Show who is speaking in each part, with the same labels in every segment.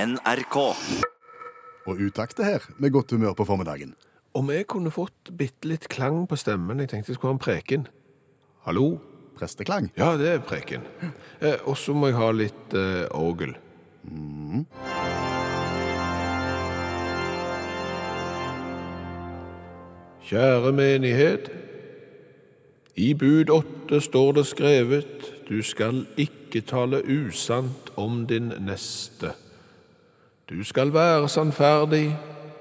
Speaker 1: NRK.
Speaker 2: Og utakte her med godt humør på formiddagen.
Speaker 3: Om jeg kunne fått bitte litt klang på stemmen, jeg tenkte jeg skulle ha en preken. Hallo?
Speaker 2: Presteklang.
Speaker 3: Ja, det er preken. Eh, Og så må jeg ha litt eh, orgel. Kjære menighet. I bud åtte står det skrevet, du skal ikke tale usant om din neste. Du skal være sannferdig,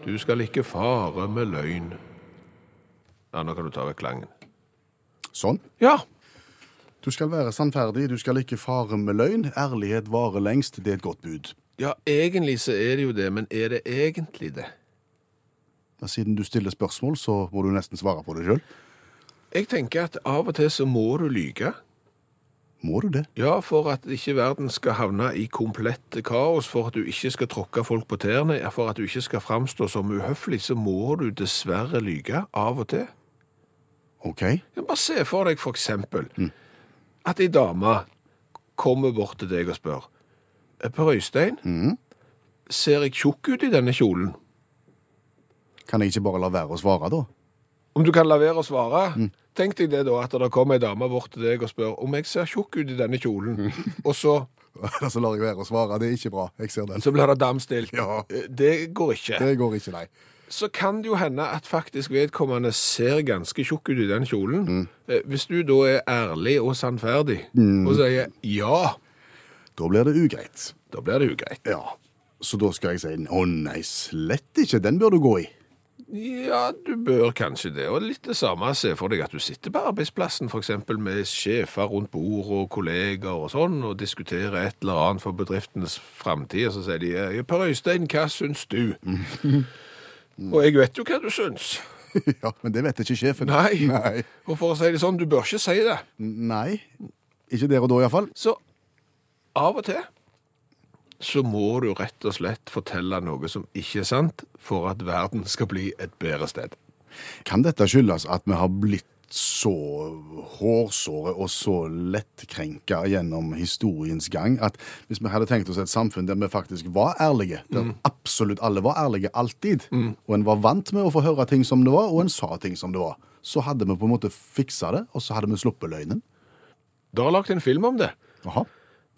Speaker 3: du skal ikke fare med løgn. Ja, nå kan du ta vekk klangen.
Speaker 2: Sånn.
Speaker 3: Ja,
Speaker 2: Du skal være sannferdig, du skal ikke fare med løgn. Ærlighet varer lengst, det er et godt bud.
Speaker 3: Ja, egentlig så er det jo det, men er det egentlig det?
Speaker 2: Men Siden du stiller spørsmål, så må du nesten svare på det sjøl.
Speaker 3: Jeg tenker at av og til så må du lyge.
Speaker 2: Må du det?
Speaker 3: Ja, for at ikke verden skal havne i komplett kaos, for at du ikke skal tråkke folk på tærne, ja, for at du ikke skal framstå som uhøflig, så må du dessverre lyge av og til.
Speaker 2: OK.
Speaker 3: Ja, bare se for deg for eksempel at ei dame kommer bort til deg og spør «Eh, Per Øystein, ser jeg tjukk ut i denne kjolen?
Speaker 2: Kan jeg ikke bare la være å svare, da?
Speaker 3: Om du kan la være å svare, tenk deg det da at det kommer ei dame bort til deg og spør om jeg ser tjukk ut i denne kjolen, og så,
Speaker 2: Eller så lar jeg være å svare. Det er ikke bra. Jeg ser den.
Speaker 3: så blir det damstilt.
Speaker 2: Ja.
Speaker 3: Eh, Det går ikke.
Speaker 2: Det går ikke, nei.
Speaker 3: Så kan det jo hende at faktisk vedkommende ser ganske tjukk ut i den kjolen. Eh, Hvis du da er ærlig og sannferdig og sier ja,
Speaker 2: Da blir det ugreit.
Speaker 3: da blir det ugreit.
Speaker 2: Ja. Så da skal jeg si å nei, slett ikke, den bør du gå i.
Speaker 3: Ja, du bør kanskje det. Og litt det samme se for deg at du sitter på arbeidsplassen, f.eks. med sjefer rundt bord og kolleger og sånn, og diskuterer et eller annet for bedriftenes framtid, og så sier de «Ja, Per Øystein, hva syns du? Og jeg vet jo hva du syns.
Speaker 2: ja, men det vet ikke sjefen.
Speaker 3: Nei.
Speaker 2: Nei.
Speaker 3: Og for å si det sånn, du bør ikke si det.
Speaker 2: Nei. Ikke der og da, iallfall.
Speaker 3: Så av og til så må du rett og slett fortelle noe som ikke er sant, for at verden skal bli et bedre sted.
Speaker 2: Kan dette skyldes at vi har blitt så hårsåre og så lettkrenka gjennom historiens gang at hvis vi hadde tenkt oss et samfunn der vi faktisk var ærlige, der
Speaker 3: Mm.
Speaker 2: absolutt alle var ærlige alltid, og en var vant med å få høre ting som det var, og en sa ting som det var, så hadde vi på en måte fiksa det, og så hadde vi sluppet løgnen.
Speaker 3: Da har jeg lagt en film om det,
Speaker 2: Aha.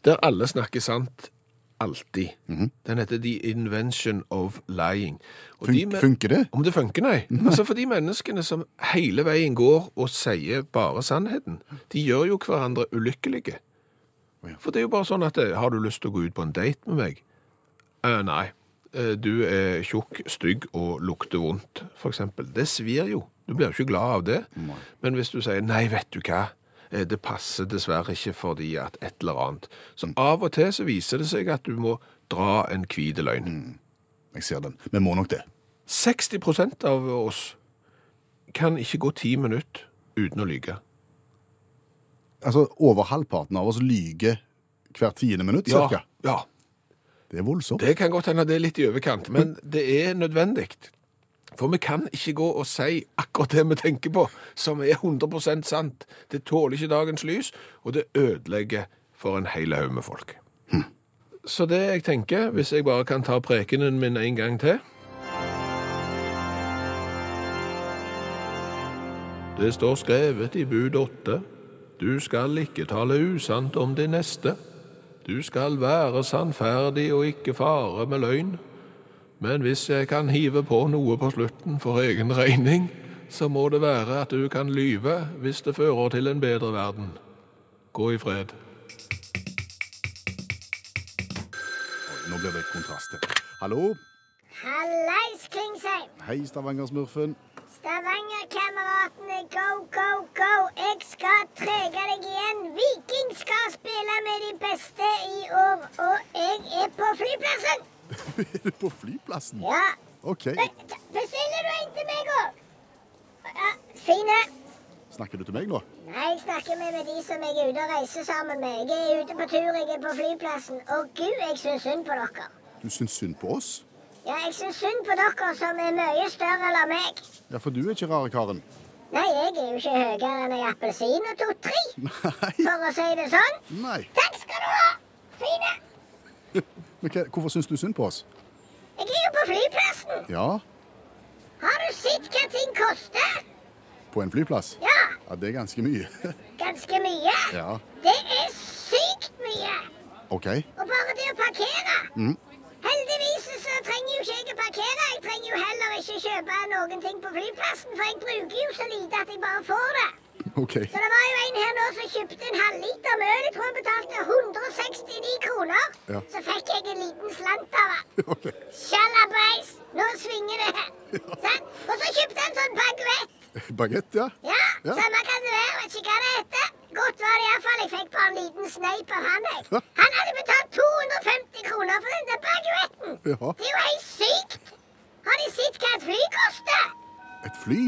Speaker 3: der alle snakker sant alltid. Den heter The Invention of Lying. Og de
Speaker 2: Fun
Speaker 3: men-
Speaker 2: funker det?
Speaker 3: Om det funker, nei. Altså For de menneskene som hele veien går og sier bare sannheten, de gjør jo hverandre ulykkelige.
Speaker 2: Å ja.
Speaker 3: For det er jo bare sånn at eh, Har du lyst til å gå ut på en date med meg? Eh, nei. Eh, du er tjukk, stygg og lukter vondt, f.eks. Det svir jo. Du blir jo ikke glad av det. Men hvis du sier 'nei, vet du hva', eh, det passer dessverre ikke fordi at et eller annet
Speaker 2: Mm.
Speaker 3: Så av og til så viser det seg at du må dra en hvit løgn.
Speaker 2: Jeg ser den. Vi må nok det.
Speaker 3: 60 av oss kan ikke gå ti minutter uten å lyge.
Speaker 2: Altså, Over halvparten av oss lyger hvert tiende minutt, cirka.
Speaker 3: ja,
Speaker 2: Det er voldsomt.
Speaker 3: det kan godt hende det er litt i overkant, men det er nødvendig. For vi kan ikke gå og si akkurat det vi tenker på, som er 100 sant. Det tåler ikke dagens lys, og det ødelegger for en hel haug med folk. Så det jeg tenker, hvis jeg bare kan ta prekenen min en gang til Det står skrevet i bud åtte. Du skal ikke tale usant om din neste. Du skal være sannferdig og ikke fare med løgn. Men hvis jeg kan hive på noe på slutten for egen regning, så må det være at du kan lyve hvis det fører til en bedre verden. Gå i fred.
Speaker 2: Nå blir det kontrast her. Hallo?
Speaker 4: Hallais, Klingsheim!
Speaker 2: Hei, Stavanger-smurfen.
Speaker 4: Stavanger-kameratene, go, go, go! Jeg skal trege deg igjen. Viking skal spille med de beste i år, og jeg er på flyplassen!
Speaker 2: Er du på flyplassen?
Speaker 4: Ja.
Speaker 2: OK.
Speaker 4: Be- t- Bestiller du en til meg òg? Ja, fine.
Speaker 2: Snakker du til meg nå?
Speaker 4: Nei, jeg snakker med, med de som jeg er ute og reiser sammen med. Jeg er ute på tur, jeg er på flyplassen. Og gud, jeg syns synd på dere.
Speaker 2: Du syns synd på oss?
Speaker 4: Ja, jeg syns synd på dere som er mye større enn meg.
Speaker 2: Ja, for du er ikke rare karen.
Speaker 4: Nei, jeg er jo ikke høyere enn ei appelsin og to-tre,
Speaker 2: Nei.
Speaker 4: for å si det sånn.
Speaker 2: Nei.
Speaker 4: Takk skal du ha! Fine!
Speaker 2: Men hva, hvorfor syns du synd på oss?
Speaker 4: Jeg er jo på flyplassen.
Speaker 2: Ja,
Speaker 4: Har du sett hva ting koster?
Speaker 2: på en flyplass?
Speaker 4: Ja,
Speaker 2: Ja, det er ganske mye.
Speaker 4: ganske mye.
Speaker 2: Ja.
Speaker 4: Det er sykt mye.
Speaker 2: OK.
Speaker 4: Og bare det å parkere.
Speaker 2: Mm.
Speaker 4: Heldigvis så trenger jo ikke jeg å parkere. Jeg trenger jo heller ikke kjøpe noen ting på flyplassen, for jeg bruker jo så lite at jeg bare får det.
Speaker 2: ok.
Speaker 4: Så det var jo en her nå som kjøpte en halvliter med øl. Jeg tror han betalte 169 kroner.
Speaker 2: Ja.
Speaker 4: Så fikk jeg en liten slant av han.
Speaker 2: Ok.
Speaker 4: Sjalabais! Nå svinger det. Sant? Og så kjøpte han sånn baguett.
Speaker 2: Bagett, ja.
Speaker 4: Ja,
Speaker 2: Ja.
Speaker 4: samme kan det være. Vet ikke hva det heter. Godt var det iallfall. Jeg fikk bare en liten sneip av han,
Speaker 2: Ja.
Speaker 4: jeg. Han hadde betalt 250 kroner for den der baguetten.
Speaker 2: Ja.
Speaker 4: Det er jo helt sykt! Har de sett hva et fly koster?
Speaker 2: Et fly?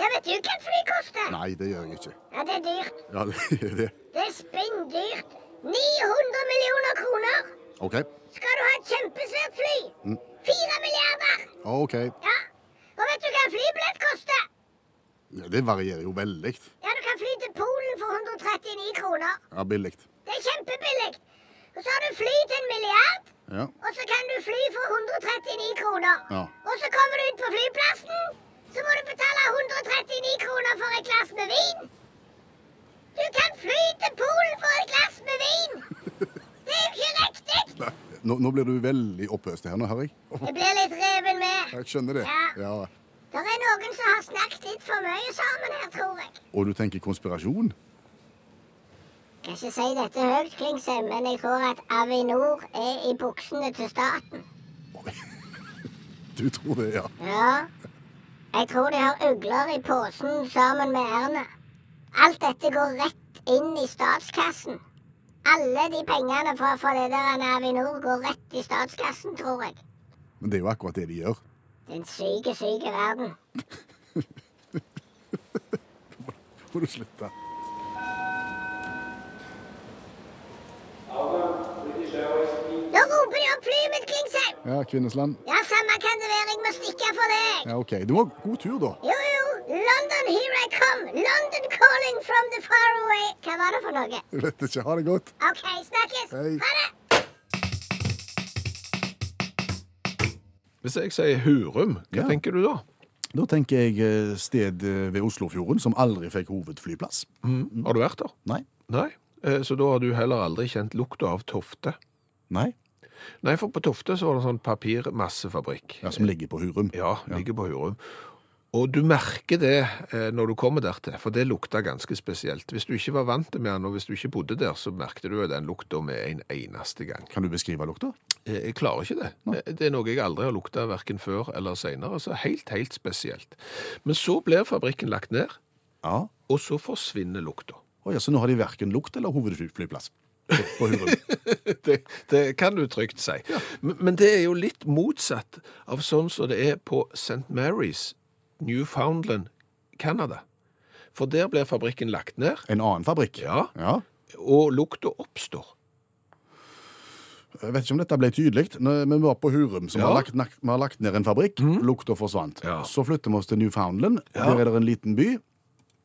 Speaker 4: Ja, vet du hva et fly koster?
Speaker 2: Nei, det gjør jeg ikke.
Speaker 4: Ja, det er dyrt.
Speaker 2: Ja, det er det.
Speaker 4: Det er spinndyrt. 900 millioner kroner
Speaker 2: OK.
Speaker 4: skal du ha et kjempesvært fly. Fire milliarder.
Speaker 2: OK.
Speaker 4: Ja. Og vet du hva en flybillett koster?
Speaker 2: Ja, det varierer jo veldig.
Speaker 4: Ja, du kan fly til Polen for 139 kroner.
Speaker 2: Ja, billig.
Speaker 4: Det er kjempebillig. Og så har du fly til en milliard.
Speaker 2: Ja.
Speaker 4: Og så kan du fly for 139 kroner.
Speaker 2: Ja.
Speaker 4: Og så kommer du ut på flyplassen, så må du betale 139 kroner for et glass med vin. Du kan fly til Polen for et glass med vin. Det er jo ikke riktig.
Speaker 2: Nei, Nå, nå blir du veldig opphøst her nå, hører jeg.
Speaker 4: Jeg blir litt reven med.
Speaker 2: Jeg skjønner det. Ja.
Speaker 4: Det er noen som har snakket litt for mye sammen her, tror jeg.
Speaker 2: Og du tenker konspirasjon?
Speaker 4: Kan ikke si dette høyt, Klingsheim, men jeg tror at Avinor er i buksene til staten.
Speaker 2: Oi. Du tror det, ja.
Speaker 4: Ja. Jeg tror de har ugler i posen sammen med Erna. Alt dette går rett inn i statskassen. Alle de pengene fra, fra det der en Avinor går rett i statskassen, tror jeg.
Speaker 2: Men det er jo akkurat det de gjør.
Speaker 4: Den syke, syke verden.
Speaker 2: Må du slutte.
Speaker 4: Nå roper de opp flyet mitt, Klingsheim!
Speaker 2: Ja, Kvinnesland.
Speaker 4: Ja, samme kan det være, jeg må stikke for det, jeg.
Speaker 2: Ja, OK. Du må ha god tur, da.
Speaker 4: Jo, jo, London, here I come. London calling from the far away. Hva var det for noe?
Speaker 2: Jeg vet ikke. Ha det godt.
Speaker 4: OK, snakkes.
Speaker 2: Hei.
Speaker 4: Ha det.
Speaker 3: Hvis jeg sier Hurum, hva
Speaker 2: Ja.
Speaker 3: tenker du da?
Speaker 2: Da tenker jeg eh, sted eh, ved Oslofjorden som aldri fikk hovedflyplass.
Speaker 3: Mm. Har du vært der?
Speaker 2: Nei.
Speaker 3: Nei. Eh, Så da har du heller aldri kjent lukta av Tofte?
Speaker 2: Nei.
Speaker 3: Nei, for på Tofte så var det en sånn papirmassefabrikk.
Speaker 2: Ja, Som ligger på Hurum.
Speaker 3: Ja, ligger på Hurum. Og du merker det eh, når du kommer dertil, for det lukta ganske spesielt. Hvis du ikke var vant med den, og hvis du ikke bodde der, så merkte du jo den lukta med en eneste gang.
Speaker 2: Kan du beskrive lukta?
Speaker 3: Eh, Jeg klarer ikke det. Eh, Det er noe jeg aldri har lukta verken før eller seinere, så helt, helt spesielt. Men så blir fabrikken lagt ned,
Speaker 2: Ja.
Speaker 3: og så forsvinner lukta.
Speaker 2: Å ja, så nå har de verken lukt eller hovedflyplass på Hurum.
Speaker 3: det, det kan du trygt si. Men, men det er jo litt motsatt av sånn som det er på St. Mary's, Newfoundland, Canada. For der blir fabrikken lagt ned,
Speaker 2: En annen fabrikk?
Speaker 3: Ja. og lukta oppstår.
Speaker 2: Jeg vet ikke om dette ble tydelig, når- men vi var på Hurum, som
Speaker 3: Ja.
Speaker 2: har, lagt, nak- vi har lagt ned en fabrikk. Lukta forsvant.
Speaker 3: Ja.
Speaker 2: Så flytter vi oss til Newfoundland.
Speaker 3: Ja.
Speaker 2: Der er det en liten by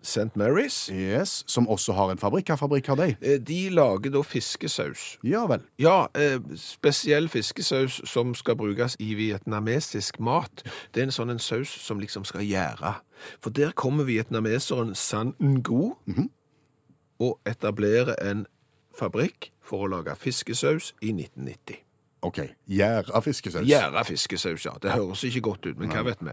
Speaker 3: St. Mary's
Speaker 2: yes, som også har en fabrikk. Hvilken fabrikk har de?
Speaker 3: eh, de lager da fiskesaus.
Speaker 2: Ja vel.
Speaker 3: Ja, eh, spesiell fiskesaus som skal brukes i vietnamesisk mat. Det er en sånn en saus som liksom skal gjære. For der kommer vietnameseren San Ngo og etablerer en fabrikk for å lage fiskesaus i 1990.
Speaker 2: OK. Gjæra fiskesaus.
Speaker 3: Gjære fiskesaus, ja. Det høres ikke godt ut, men hva vet vi?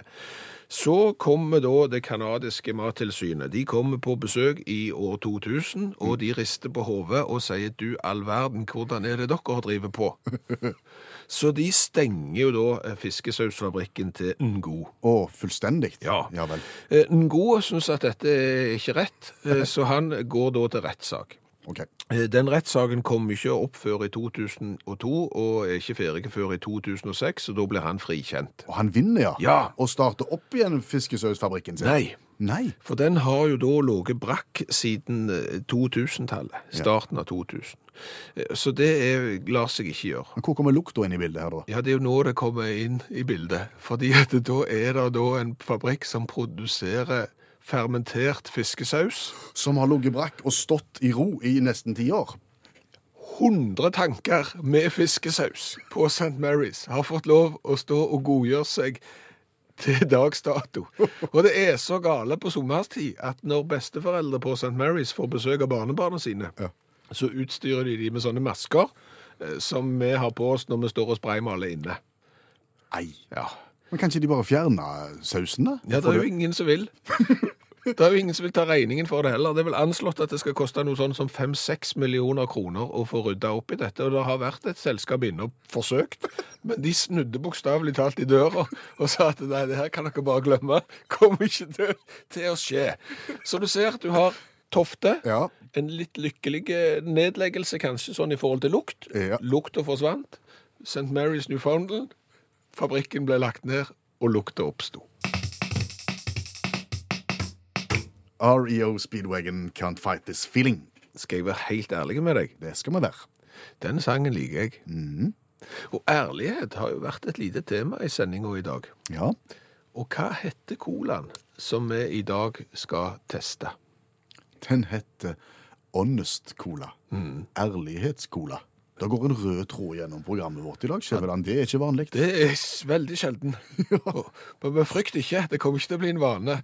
Speaker 3: Så kommer da det kanadiske mattilsynet. De kommer på besøk i år 2000, og de rister på hodet og sier 'du all verden, hvordan er det dere driver på?' Så de stenger jo da eh, fiskesausfabrikken til Ngo.
Speaker 2: Å, fullstendig?
Speaker 3: Ja.
Speaker 2: ja vel.
Speaker 3: Eh, Ngo syns at dette er ikke rett, eh, så han går da til rettssak.
Speaker 2: OK.
Speaker 3: Eh, Den rettssaken kom ikke opp før i 2002, og er ikke ferdig før i 2006, og da blir han frikjent.
Speaker 2: Og han vinner, ja?
Speaker 3: Ja.
Speaker 2: Og starter opp igjen fiskesausfabrikken sin?
Speaker 3: Nei,
Speaker 2: Nei.
Speaker 3: for den har jo da ligget brakk siden eh, 2000-tallet, starten av 2000. Eh, Så det er, lar seg ikke gjøre.
Speaker 2: Men hvor kommer lukta inn i bildet her, da?
Speaker 3: Ja, det er jo nå det kommer inn i bildet, fordi at da er det da en fabrikk som produserer fermentert fiskesaus.
Speaker 2: Som har ligget brakk og stått i ro i nesten ti år?
Speaker 3: 100 tanker med fiskesaus på St. Mary's har fått lov å stå og godgjøre seg til dags dato. Og det er så gale på sommerstid at når besteforeldre på St. Mary's får besøk av barnebarna sine, så utstyrer de de med sånne masker eh, som vi har på oss når vi står og spraymaler inne.
Speaker 2: Nei.
Speaker 3: Ja.
Speaker 2: Men kan ikke de bare fjerne sausen, da?
Speaker 3: ja, det er jo ingen som vil. Det er jo ingen som vil ta regningen for det heller. Det er vel anslått at det skal koste noe sånn som 5-6 millioner kroner å få rydda opp i dette, og det har vært et selskap inne og forsøkt, men de snudde bokstavelig talt i døra og sa at nei, det her kan dere bare glemme. Kommer ikke til, til å skje. Så du ser at du har Tofte,
Speaker 2: Ja.
Speaker 3: en litt lykkelig nedleggelse kanskje, sånn i forhold til lukt.
Speaker 2: Ja.
Speaker 3: Lukta forsvant. St. Mary's Newfoundland. Fabrikken ble lagt ned, og lukta oppsto.
Speaker 2: REO E Speedwagon Can't Fight This Feeling.
Speaker 3: Skal jeg være helt ærlig med deg?
Speaker 2: Det skal vi være.
Speaker 3: Den sangen liker jeg. Og ærlighet har jo vært et lite tema i sendinga i dag.
Speaker 2: Ja.
Speaker 3: Og hva heter colaen som vi i dag skal teste?
Speaker 2: Den heter Honest Cola. Ærlighetscola. Det går en rød tråd gjennom programmet vårt i dag. Skjæveland. Det er ikke vanlig.
Speaker 3: Det er s- veldig sjelden. Og- Men men frykt ikke, det kommer ikke til å bli en vane.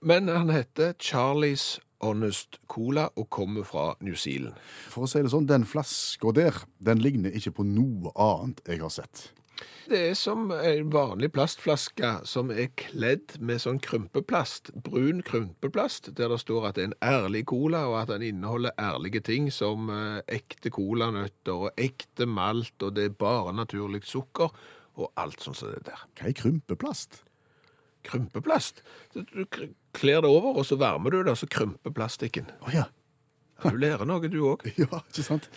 Speaker 3: Men han heter Charlies Honest Cola og kommer fra New Zealand.
Speaker 2: For å si det sånn, den flaska der, den ligner ikke på noe annet jeg har sett.
Speaker 3: Det er som en vanlig plastflaske som er kledd med sånn krympeplast, brun krympeplast, der det står at det er en ærlig cola, og at den inneholder ærlige ting som eh, ekte colanøtter og ekte malt, og det er bare naturlig sukker, og alt sånn som det der.
Speaker 2: Hva er krympeplast?
Speaker 3: Krympeplast. Så Du kr- kler det over, og så varmer du det, og så krymper plastikken.
Speaker 2: Å ja.
Speaker 3: Ja, Du lærer noe, du òg.
Speaker 2: Ja, ikke sant?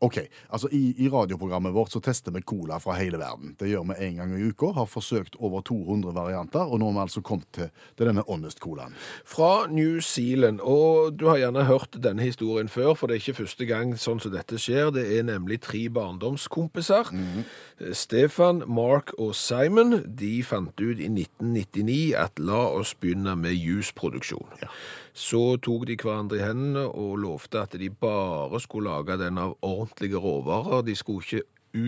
Speaker 2: Ok, altså i, i radioprogrammet vårt så tester vi cola fra hele verden. Det gjør vi en gang i uka, har forsøkt over 200 varianter, og nå har vi altså kommet til, til denne Honest-colaen.
Speaker 3: Fra New Zealand, og du har gjerne hørt denne historien før, for det er ikke første gang sånn som dette skjer. Det er nemlig tre barndomskompiser. Eh, Stefan, Mark og Simon de fant ut i 1999 at la oss begynne med jusproduksjon. Så tok de hverandre i hendene og lovte at de bare skulle lage den av ordentlige råvarer. De skulle ikke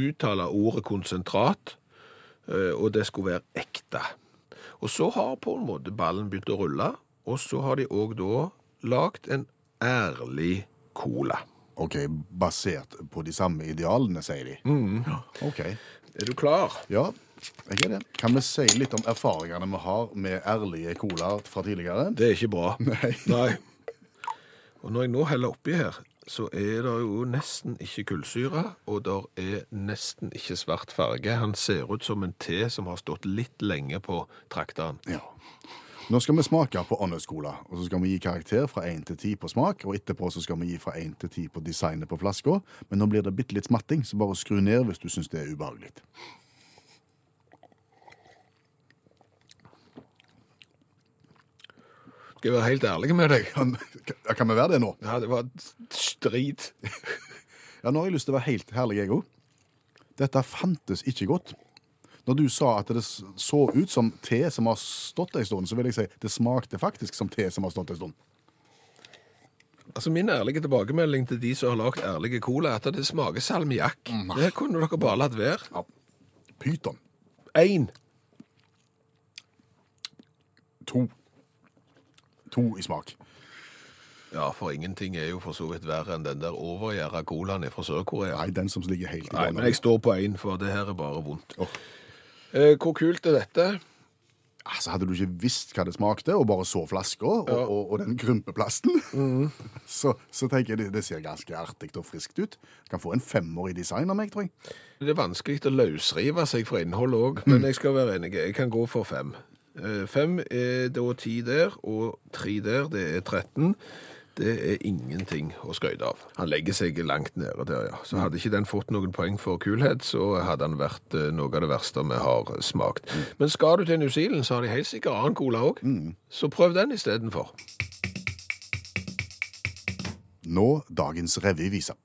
Speaker 3: uttale ordet konsentrat, eh, og det skulle være ekte. Og så har på en måte ballen begynt å rulle, og så har de òg da lagd en ærlig cola.
Speaker 2: Ok, basert på de samme idealene, sier de. Ok,
Speaker 3: Er du klar?
Speaker 2: ja, jeg er det. Kan vi si litt om erfaringene vi har med ærlige cola fra tidligere?
Speaker 3: Det er ikke bra.
Speaker 2: Nei.
Speaker 3: Og når jeg nå heller oppi her, så er det jo nesten ikke kullsyre, og der er nesten ikke svart farge. Han ser ut som en te som har stått litt lenge på trakteren.
Speaker 2: Ja. Nå skal vi smake på Honest Cola, og så skal vi gi karakter fra 1 til 10 på smak, og etterpå så skal vi gi fra 1 til 10 på designet på flaska, men nå blir det bitte litt smatting, så bare skru ned hvis du syns det er ubehagelig.
Speaker 3: Skal jeg være helt ærlig med deg?
Speaker 2: Kan, ja, kan vi være det nå?
Speaker 3: Ja, det var strid.
Speaker 2: Ja, nå har jeg lyst til å være helt herlig, jeg òg. Dette fantes ikke godt. Når du sa at det s- så ut som te som har stått en stund, så vil jeg si det smakte faktisk som te som har stått en stund.
Speaker 3: Altså Min ærlige tilbakemelding til de som har lagd ærlige cola, er at det smaker salmiakk. Det kunne dere bare latt være.
Speaker 2: Pyton.
Speaker 3: Én.
Speaker 2: To. To i smak.
Speaker 3: Ja, for ingenting er jo for så vidt verre enn den der overgjæra colaen fra Sør-Korea.
Speaker 2: Nei, den som ligger helt i
Speaker 3: Nei, men jeg står på én, for det her er bare vondt.
Speaker 2: Åh.
Speaker 3: Eh, hvor kult er dette?
Speaker 2: Altså, Hadde du ikke visst hva det smakte, og bare så flaska og, og, og den krympeplasten, så, så tenker jeg det, det ser ganske artig og friskt ut. Kan få en femmer i design av meg, tror jeg.
Speaker 3: Det er vanskelig å løsrive seg fra innholdet òg, men jeg skal være enig. Jeg kan gå for fem. Eh, Fem er da ti der, og tre der. Det er 13. Det er ingenting å skryte av. Han legger seg langt nede der, ja. Så hadde ikke den fått noen poeng for kulhet, så hadde han vært eh, noe av det verste vi har smakt. Men skal du til New Zealand, så har de helt sikkert annen cola òg. Så prøv den istedenfor.
Speaker 2: Nå dagens revyvise.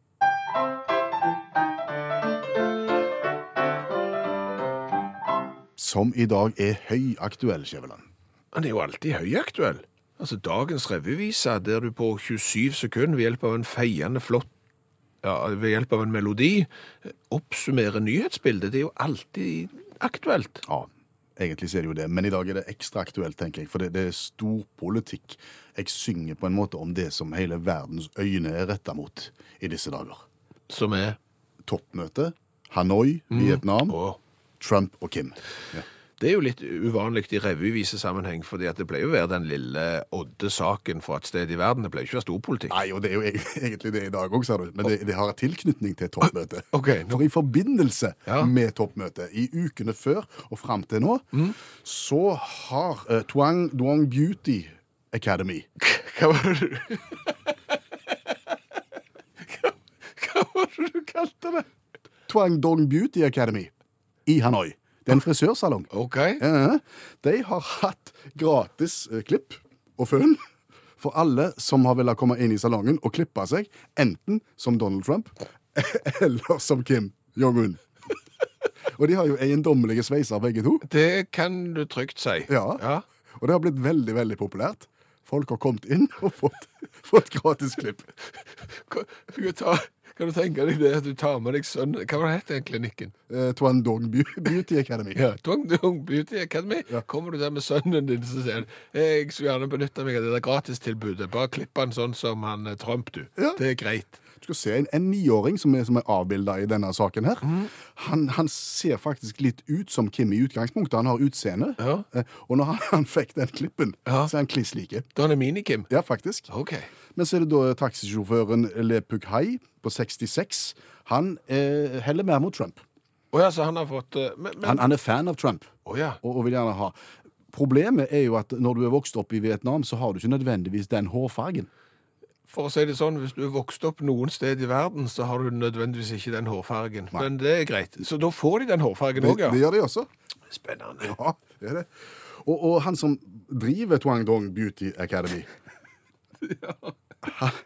Speaker 2: Som i dag er høyaktuell, Skjæveland.
Speaker 3: Han er jo alltid høyaktuell. Altså, dagens revyvise, der du på 27 sekunder ved hjelp av en feiende flott ja, ved hjelp av en melodi oppsummere nyhetsbildet. Det er jo alltid aktuelt.
Speaker 2: Ja, egentlig så er det jo det, men i dag er det ekstra aktuelt, tenker jeg, for det, det er storpolitikk. Jeg synger på en måte om det som hele verdens øyne er retta mot i disse dager.
Speaker 3: Som er
Speaker 2: Toppmøte, Hanoi,
Speaker 3: Mm.
Speaker 2: Vietnam,
Speaker 3: å,
Speaker 2: Trump og Kim. Ja.
Speaker 3: Det er jo litt uvanlig i revyvisesammenheng, fordi at det pleier jo å være den lille odde-saken fra et sted i verden. Det pleier ikke å være storpolitikk.
Speaker 2: Nei, og det er jo eg- egentlig det i dag òg, ser du. Men det, det har en tilknytning til toppmøtet.
Speaker 3: Ok, nå-
Speaker 2: For i forbindelse
Speaker 3: Ja.
Speaker 2: med toppmøtet, i ukene før og fram til nå,
Speaker 3: Mm.
Speaker 2: så har eh, Twang Duong Beauty Academy
Speaker 3: Hva var det du Hva- Hva var det du kalte det?
Speaker 2: Twang Dong Beauty Academy i Hanoi. Det er en frisørsalong.
Speaker 3: OK.
Speaker 2: Eh, De har hatt gratis eh, klipp og føn for alle som har villet komme inn i salongen og klippe seg, enten som Donald Trump eller som Kim Jong-un. Og de har jo eiendommelige sveiser, begge to.
Speaker 3: Det kan du trygt si.
Speaker 2: Ja. Og det har blitt veldig veldig populært. Folk har kommet inn og fått, fått gratis klipp.
Speaker 3: Kan, kan, du ta, kan du tenke deg det at du tar med deg sønnen Hva var det het den klinikken?
Speaker 2: Eh, Twandong Beau- Beauty Academy.
Speaker 3: Ja. Dong Dong Beauty Academy. Kommer du der med sønnen din, så sier han jeg skulle gjerne benytte meg av det der gratistilbudet. Bare klipp han sånn som han eh, Trump, du.
Speaker 2: Ja.
Speaker 3: Det er greit.
Speaker 2: Du skal se en, en niåring som er, som er avbilda i denne saken her.
Speaker 3: Mhm.
Speaker 2: Han, han ser faktisk litt ut som Kim i utgangspunktet. Han har utseende.
Speaker 3: Ja.
Speaker 2: Eh, Og når han, han fikk den klippen,
Speaker 3: Ja.
Speaker 2: så er han kliss like.
Speaker 3: Da er det Minikim.
Speaker 2: Ja, faktisk.
Speaker 3: OK.
Speaker 2: Men så er det da taxisjåføren Le Puc Hai på 66. Han eh, heller mer mot Trump.
Speaker 3: Å ja, så han har fått eh, Men, men
Speaker 2: Han, han er fan av Trump
Speaker 3: Å ja.
Speaker 2: og, og vil gjerne ha. Problemet er jo at når du er vokst opp i Vietnam, så har du ikke nødvendigvis den hårfargen.
Speaker 3: For å si det sånn, hvis du er vokst opp noen sted i verden, så har du nødvendigvis ikke den hårfargen. Men det er greit. Så da får de den hårfargen
Speaker 2: Det,
Speaker 3: òg,
Speaker 2: det
Speaker 3: ja.
Speaker 2: gjør de også.
Speaker 3: Spennende.
Speaker 2: Ja, det er det. Og, og han som driver Twangdong Beauty Academy han,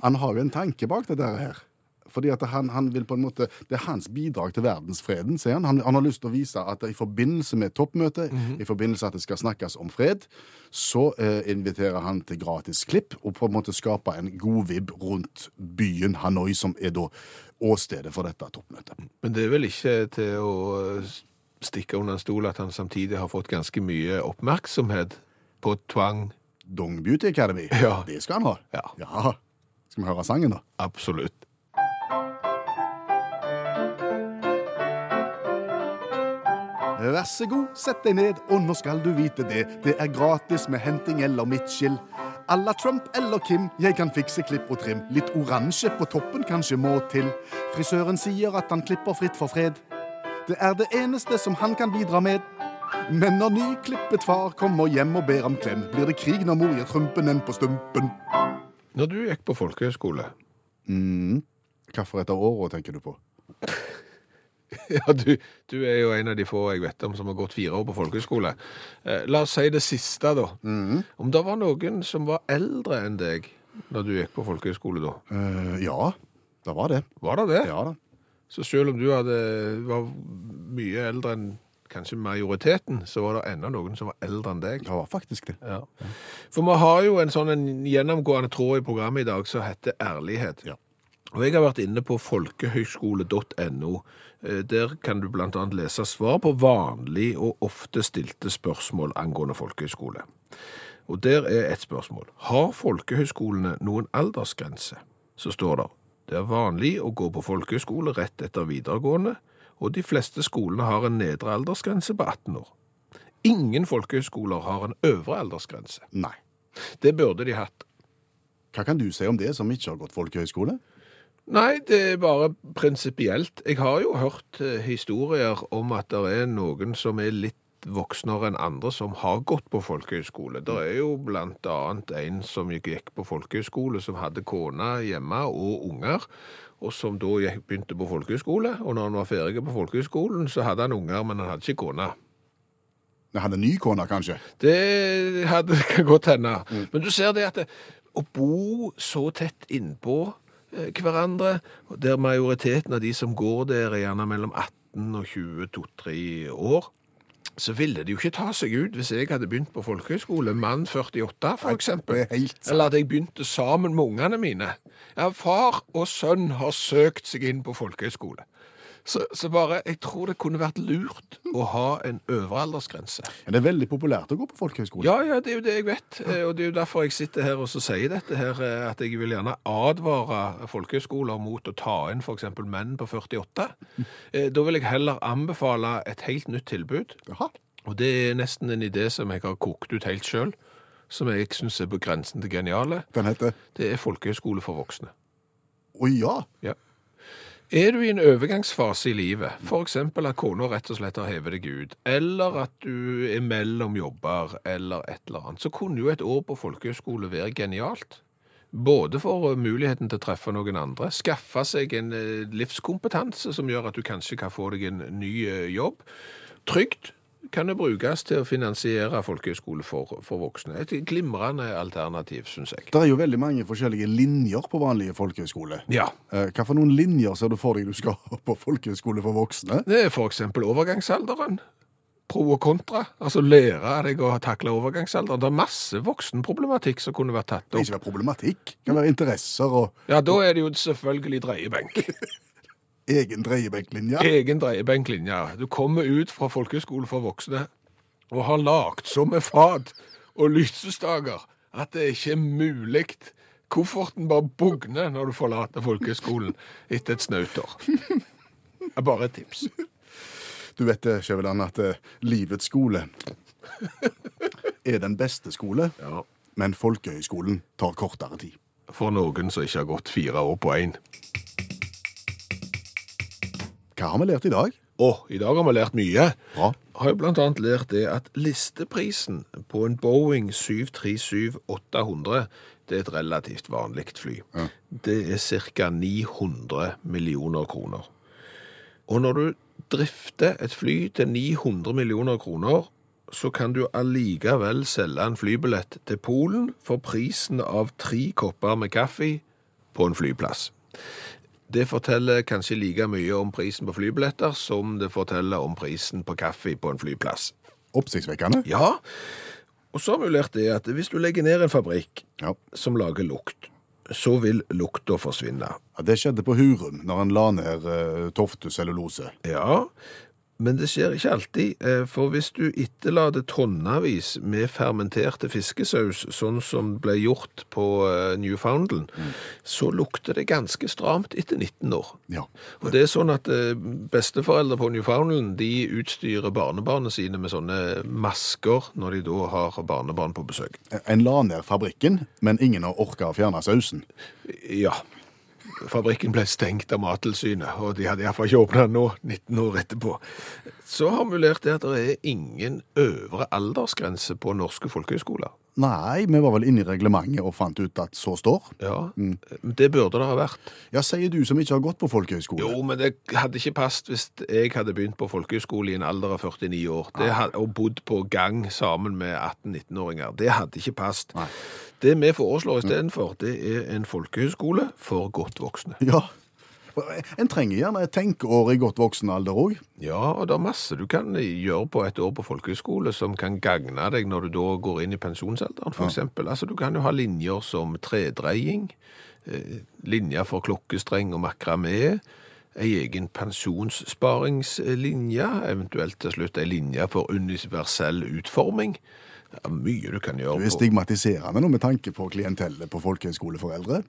Speaker 2: han har jo en tanke bak det der her. Fordi at han, han vil på en måte, Det er hans bidrag til verdensfreden, sier han. han. Han har lyst til å vise at i forbindelse med toppmøtet, i forbindelse at det skal snakkes om fred, så eh, inviterer han til gratis klipp og på en måte skaper en god vibb rundt byen Hanoi, som er da åstedet for dette toppmøtet.
Speaker 3: Men det er vel ikke til å eh, stikke under en stol at han samtidig har fått ganske mye oppmerksomhet på tvang?
Speaker 2: Dong Beauty Academy.
Speaker 3: Ja.
Speaker 2: Det skal han ha.
Speaker 3: Ja.
Speaker 2: Skal vi høre sangen, da?
Speaker 3: Absolutt.
Speaker 2: Vær så god, sett deg ned, og nå skal du vite det. Det er gratis med henting eller midtskill. À la Trump eller Kim, jeg kan fikse klipp og trim. Litt oransje på toppen kanskje må til. Frisøren sier at han klipper fritt for fred. Det er det eneste som han kan bidra med. Men når nyklippet far kommer hjem og ber om klem, blir det krig når mor gir Trumpen en på stumpen.
Speaker 3: Når du gikk på folkehøyskole
Speaker 2: Mm. Hvorfor etter åra, tenker du på?
Speaker 3: Ja, du, du er jo en av de få jeg vet om som har gått fire år på folkehøyskole. Eh, la oss si det siste, da. Om det var noen som var eldre enn deg når du gikk på folkehøyskole da?
Speaker 2: Eh, ja, det var det.
Speaker 3: Var det det?
Speaker 2: Ja da.
Speaker 3: Så selv om du hadde, var mye eldre enn kanskje majoriteten, så var det enda noen som var eldre enn deg.
Speaker 2: Det var faktisk det.
Speaker 3: Ja. For vi har jo en sånn en gjennomgående tråd i programmet i dag som heter ærlighet.
Speaker 2: Ja.
Speaker 3: Og jeg har vært inne på folkehøyskole.no. Eh, Der kan du blant annet lese svar på vanlig og ofte stilte spørsmål angående folkehøyskole. Og der er et spørsmål. Har folkehøyskolene noen aldersgrense? Så står det. Det er vanlig å gå på folkehøyskole rett etter videregående, og de fleste skolene har en nedre aldersgrense på 18 år. Ingen folkehøyskoler har en øvre aldersgrense.
Speaker 2: Nei.
Speaker 3: Det burde de hatt.
Speaker 2: Hva kan du si om det som ikke har gått folkehøyskole?
Speaker 3: Nei, det er bare prinsipielt. Jeg har jo hørt eh, historier om at det er noen som er litt voksnere enn andre som har gått på folkehøyskole. Det er jo blant annet en som gikk på folkehøyskole som hadde kone hjemme og unger, og som da gikk- begynte på folkehøyskole, og når han var ferdig på folkehøyskolen så hadde han unger, men han hadde ikke kone.
Speaker 2: Jeg hadde ny kone, kanskje.
Speaker 3: Det hadde, kan godt hende. Men du ser det at det, å bo så tett innpå eh, hverandre, og der majoriteten av de som går der, er gjerne mellom 18 og 22-3 år, så ville det jo ikke ta seg ut hvis jeg hadde begynt på folkehøyskole, mann 48 for eksempel,
Speaker 2: det er helt sant.
Speaker 3: eller at jeg begynte sammen med ungene mine. Ja, far og sønn har søkt seg inn på folkehøyskole. Så, så bare, jeg tror det kunne vært lurt å ha en øvre aldersgrense.
Speaker 2: Men det er veldig populært å gå på folkehøyskole.
Speaker 3: Ja, ja, det er jo det jeg vet, eh, og det er jo derfor jeg sitter her og så sier dette her, eh, at jeg vil gjerne advare folkehøyskoler mot å ta inn for eksempel menn på 48. Eh, Da vil jeg heller anbefale et helt nytt tilbud,
Speaker 2: Jaha.
Speaker 3: og det er nesten en idé som jeg har kokt ut helt selv, som jeg synes er på grensen til geniale.
Speaker 2: Den heter
Speaker 3: Det er folkehøyskole for voksne.
Speaker 2: Å ja!
Speaker 3: Ja. Er du i en overgangsfase i livet, f.eks. at kona rett og slett har hevet deg ut, eller at du er mellom jobber, eller et eller annet, så kunne jo et år på folkehøyskole være genialt. Både for eh, muligheten til å treffe noen andre, skaffe seg en eh, livskompetanse som gjør at du kanskje kan få deg en ny eh, jobb. Trygt kan det brukes til å finansiere folkehøyskole for, for voksne. Et glimrende alternativ, syns jeg.
Speaker 2: Det er jo veldig mange forskjellige linjer på vanlige folkehøyskole.
Speaker 3: Ja.
Speaker 2: Eh, Hva for noen linjer ser du for deg du skal ha på folkehøyskole for voksne?
Speaker 3: Det er for eksempel overgangsalderen. Pro og kontra. Altså lære deg å takle overgangsalderen. Det er masse voksenproblematikk som kunne vært tatt
Speaker 2: Det kan
Speaker 3: opp.
Speaker 2: ikke være problematikk. Det kan være interesser og
Speaker 3: Ja, da er det jo selvfølgelig dreiebenk.
Speaker 2: egen dreiebenklinje.
Speaker 3: Egen dreiebenklinje. Du kommer ut fra folkehøyskole for voksne og har lagt så med fat og lysestaker at det ikke er mulig. Kofferten bare bugner når du forlater folkehøyskolen etter et snaut år. Det er Bare et tips.
Speaker 2: Du vet det, Skjæveland, at eh, livets skole er den beste skole,
Speaker 3: Ja.
Speaker 2: men folkehøyskolen tar kortere tid.
Speaker 3: For noen som ikke har gått fire år på én.
Speaker 2: Hva har vi lært i dag?
Speaker 3: Å, i dag har vi lært mye.
Speaker 2: Bra.
Speaker 3: Har jo blant annet lært det at listeprisen på en Boeing 737-800, det er et relativt vanligt fly. Det er cirka 900 millioner kroner. Og når du drifter et fly til 900 millioner kroner, så kan du allikevel selge en flybillett til Polen for prisen av tre kopper med kaffe på en flyplass. Det forteller kanskje like mye om prisen på flybilletter som det forteller om prisen på kaffe på en flyplass.
Speaker 2: Oppsiktsvekkende.
Speaker 3: Ja, og så har vi jo lært det at hvis du legger ned en fabrikk
Speaker 2: Ja.
Speaker 3: som lager lukt, så vil lukta forsvinne.
Speaker 2: Ja, Det skjedde på Hurum, når en la ned eh, Tofte cellulose.
Speaker 3: Ja, men det skjer ikke alltid, eh, for hvis du etterlater tonnavis med fermenterte fiskesaus, sånn som ble gjort på eh, Newfoundland, så lukter det ganske stramt etter 19 år.
Speaker 2: Ja.
Speaker 3: Og det er sånn at eh, besteforeldre på Newfoundland de utstyrer barnebarna sine med sånne masker når de da har barnebarn på besøk.
Speaker 2: En la ned fabrikken, men ingen har orka å fjerne sausen.
Speaker 3: Ja. Fabrikken ble stengt av Mattilsynet, og de hadde iallfall ikke åpna den nå, 19 år etterpå. Så har vi lært det at det er ingen øvre aldersgrense på norske folkehøyskoler.
Speaker 2: Nei, vi var vel inne i reglementet og fant ut at så står.
Speaker 3: Ja, Det burde det ha vært.
Speaker 2: Ja, sier du som ikke har gått på folkehøyskole.
Speaker 3: Jo, men det hadde ikke passet hvis jeg hadde begynt på folkehøyskole i en alder av 49 år det had, og bodd på gang sammen med 18-19-åringer. Det hadde ikke passet.
Speaker 2: Nei.
Speaker 3: Det vi foreslår istedenfor, det er en folkehøyskole for godt voksne.
Speaker 2: Ja. En trenger gjerne et tenkeår i godt voksen alder òg.
Speaker 3: Ja, og det er masse du kan gjøre på et år på folkehøyskole som kan gagne deg når du da går inn i pensjonsalderen, for eksempel. Altså, du kan jo ha linjer som tredreying, eh, linjer for klokkestreng og makramé, ei egen pensjonssparingslinje, eventuelt til slutt ei linje for universell utforming. Det er mye du kan
Speaker 2: Det er
Speaker 3: gjøre på.
Speaker 2: stigmatiserende nå med tanke på klientellet på folkehøyskoleforeldre.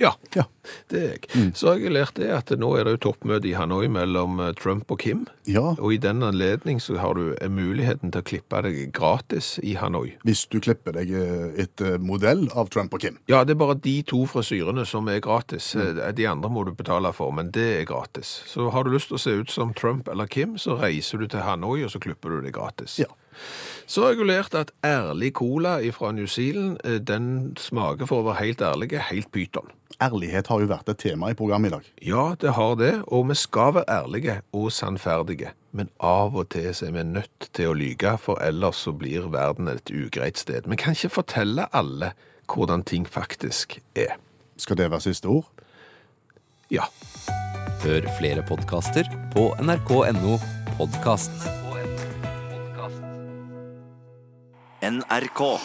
Speaker 3: Ja,
Speaker 2: Ja.
Speaker 3: det er jeg. Så har jeg lært det at nå er det jo toppmøte i Hanoi mellom eh, Trump og Kim.
Speaker 2: ja.
Speaker 3: Og i den anledning så har du eh, muligheten til å klippe deg gratis i Hanoi.
Speaker 2: Hvis du klipper deg eh, et eh, modell av Trump og Kim.
Speaker 3: Ja, det er bare de to frisyrene som er gratis. Eh, De andre må du betale for, men det er gratis. Så har du lyst til å se ut som Trump eller Kim, så reiser du til Hanoi, og så klipper du det gratis.
Speaker 2: Ja.
Speaker 3: Så har jeg jo lært at ærlig cola fra New Zealand, eh, den smaker, for å være helt ærlig, helt pyton.
Speaker 2: Ærlighet har jo vært et tema i programmet i dag.
Speaker 3: Ja, det har det, og vi skal være ærlige og sannferdige. Men av og til så er vi nødt til å lyge, for ellers så blir verden et ugreit sted. Vi kan ikke fortelle alle hvordan ting faktisk er.
Speaker 2: Skal det være siste ord?
Speaker 3: Ja.
Speaker 1: Hør flere podkaster på nrk.no podkast.
Speaker 5: NRK.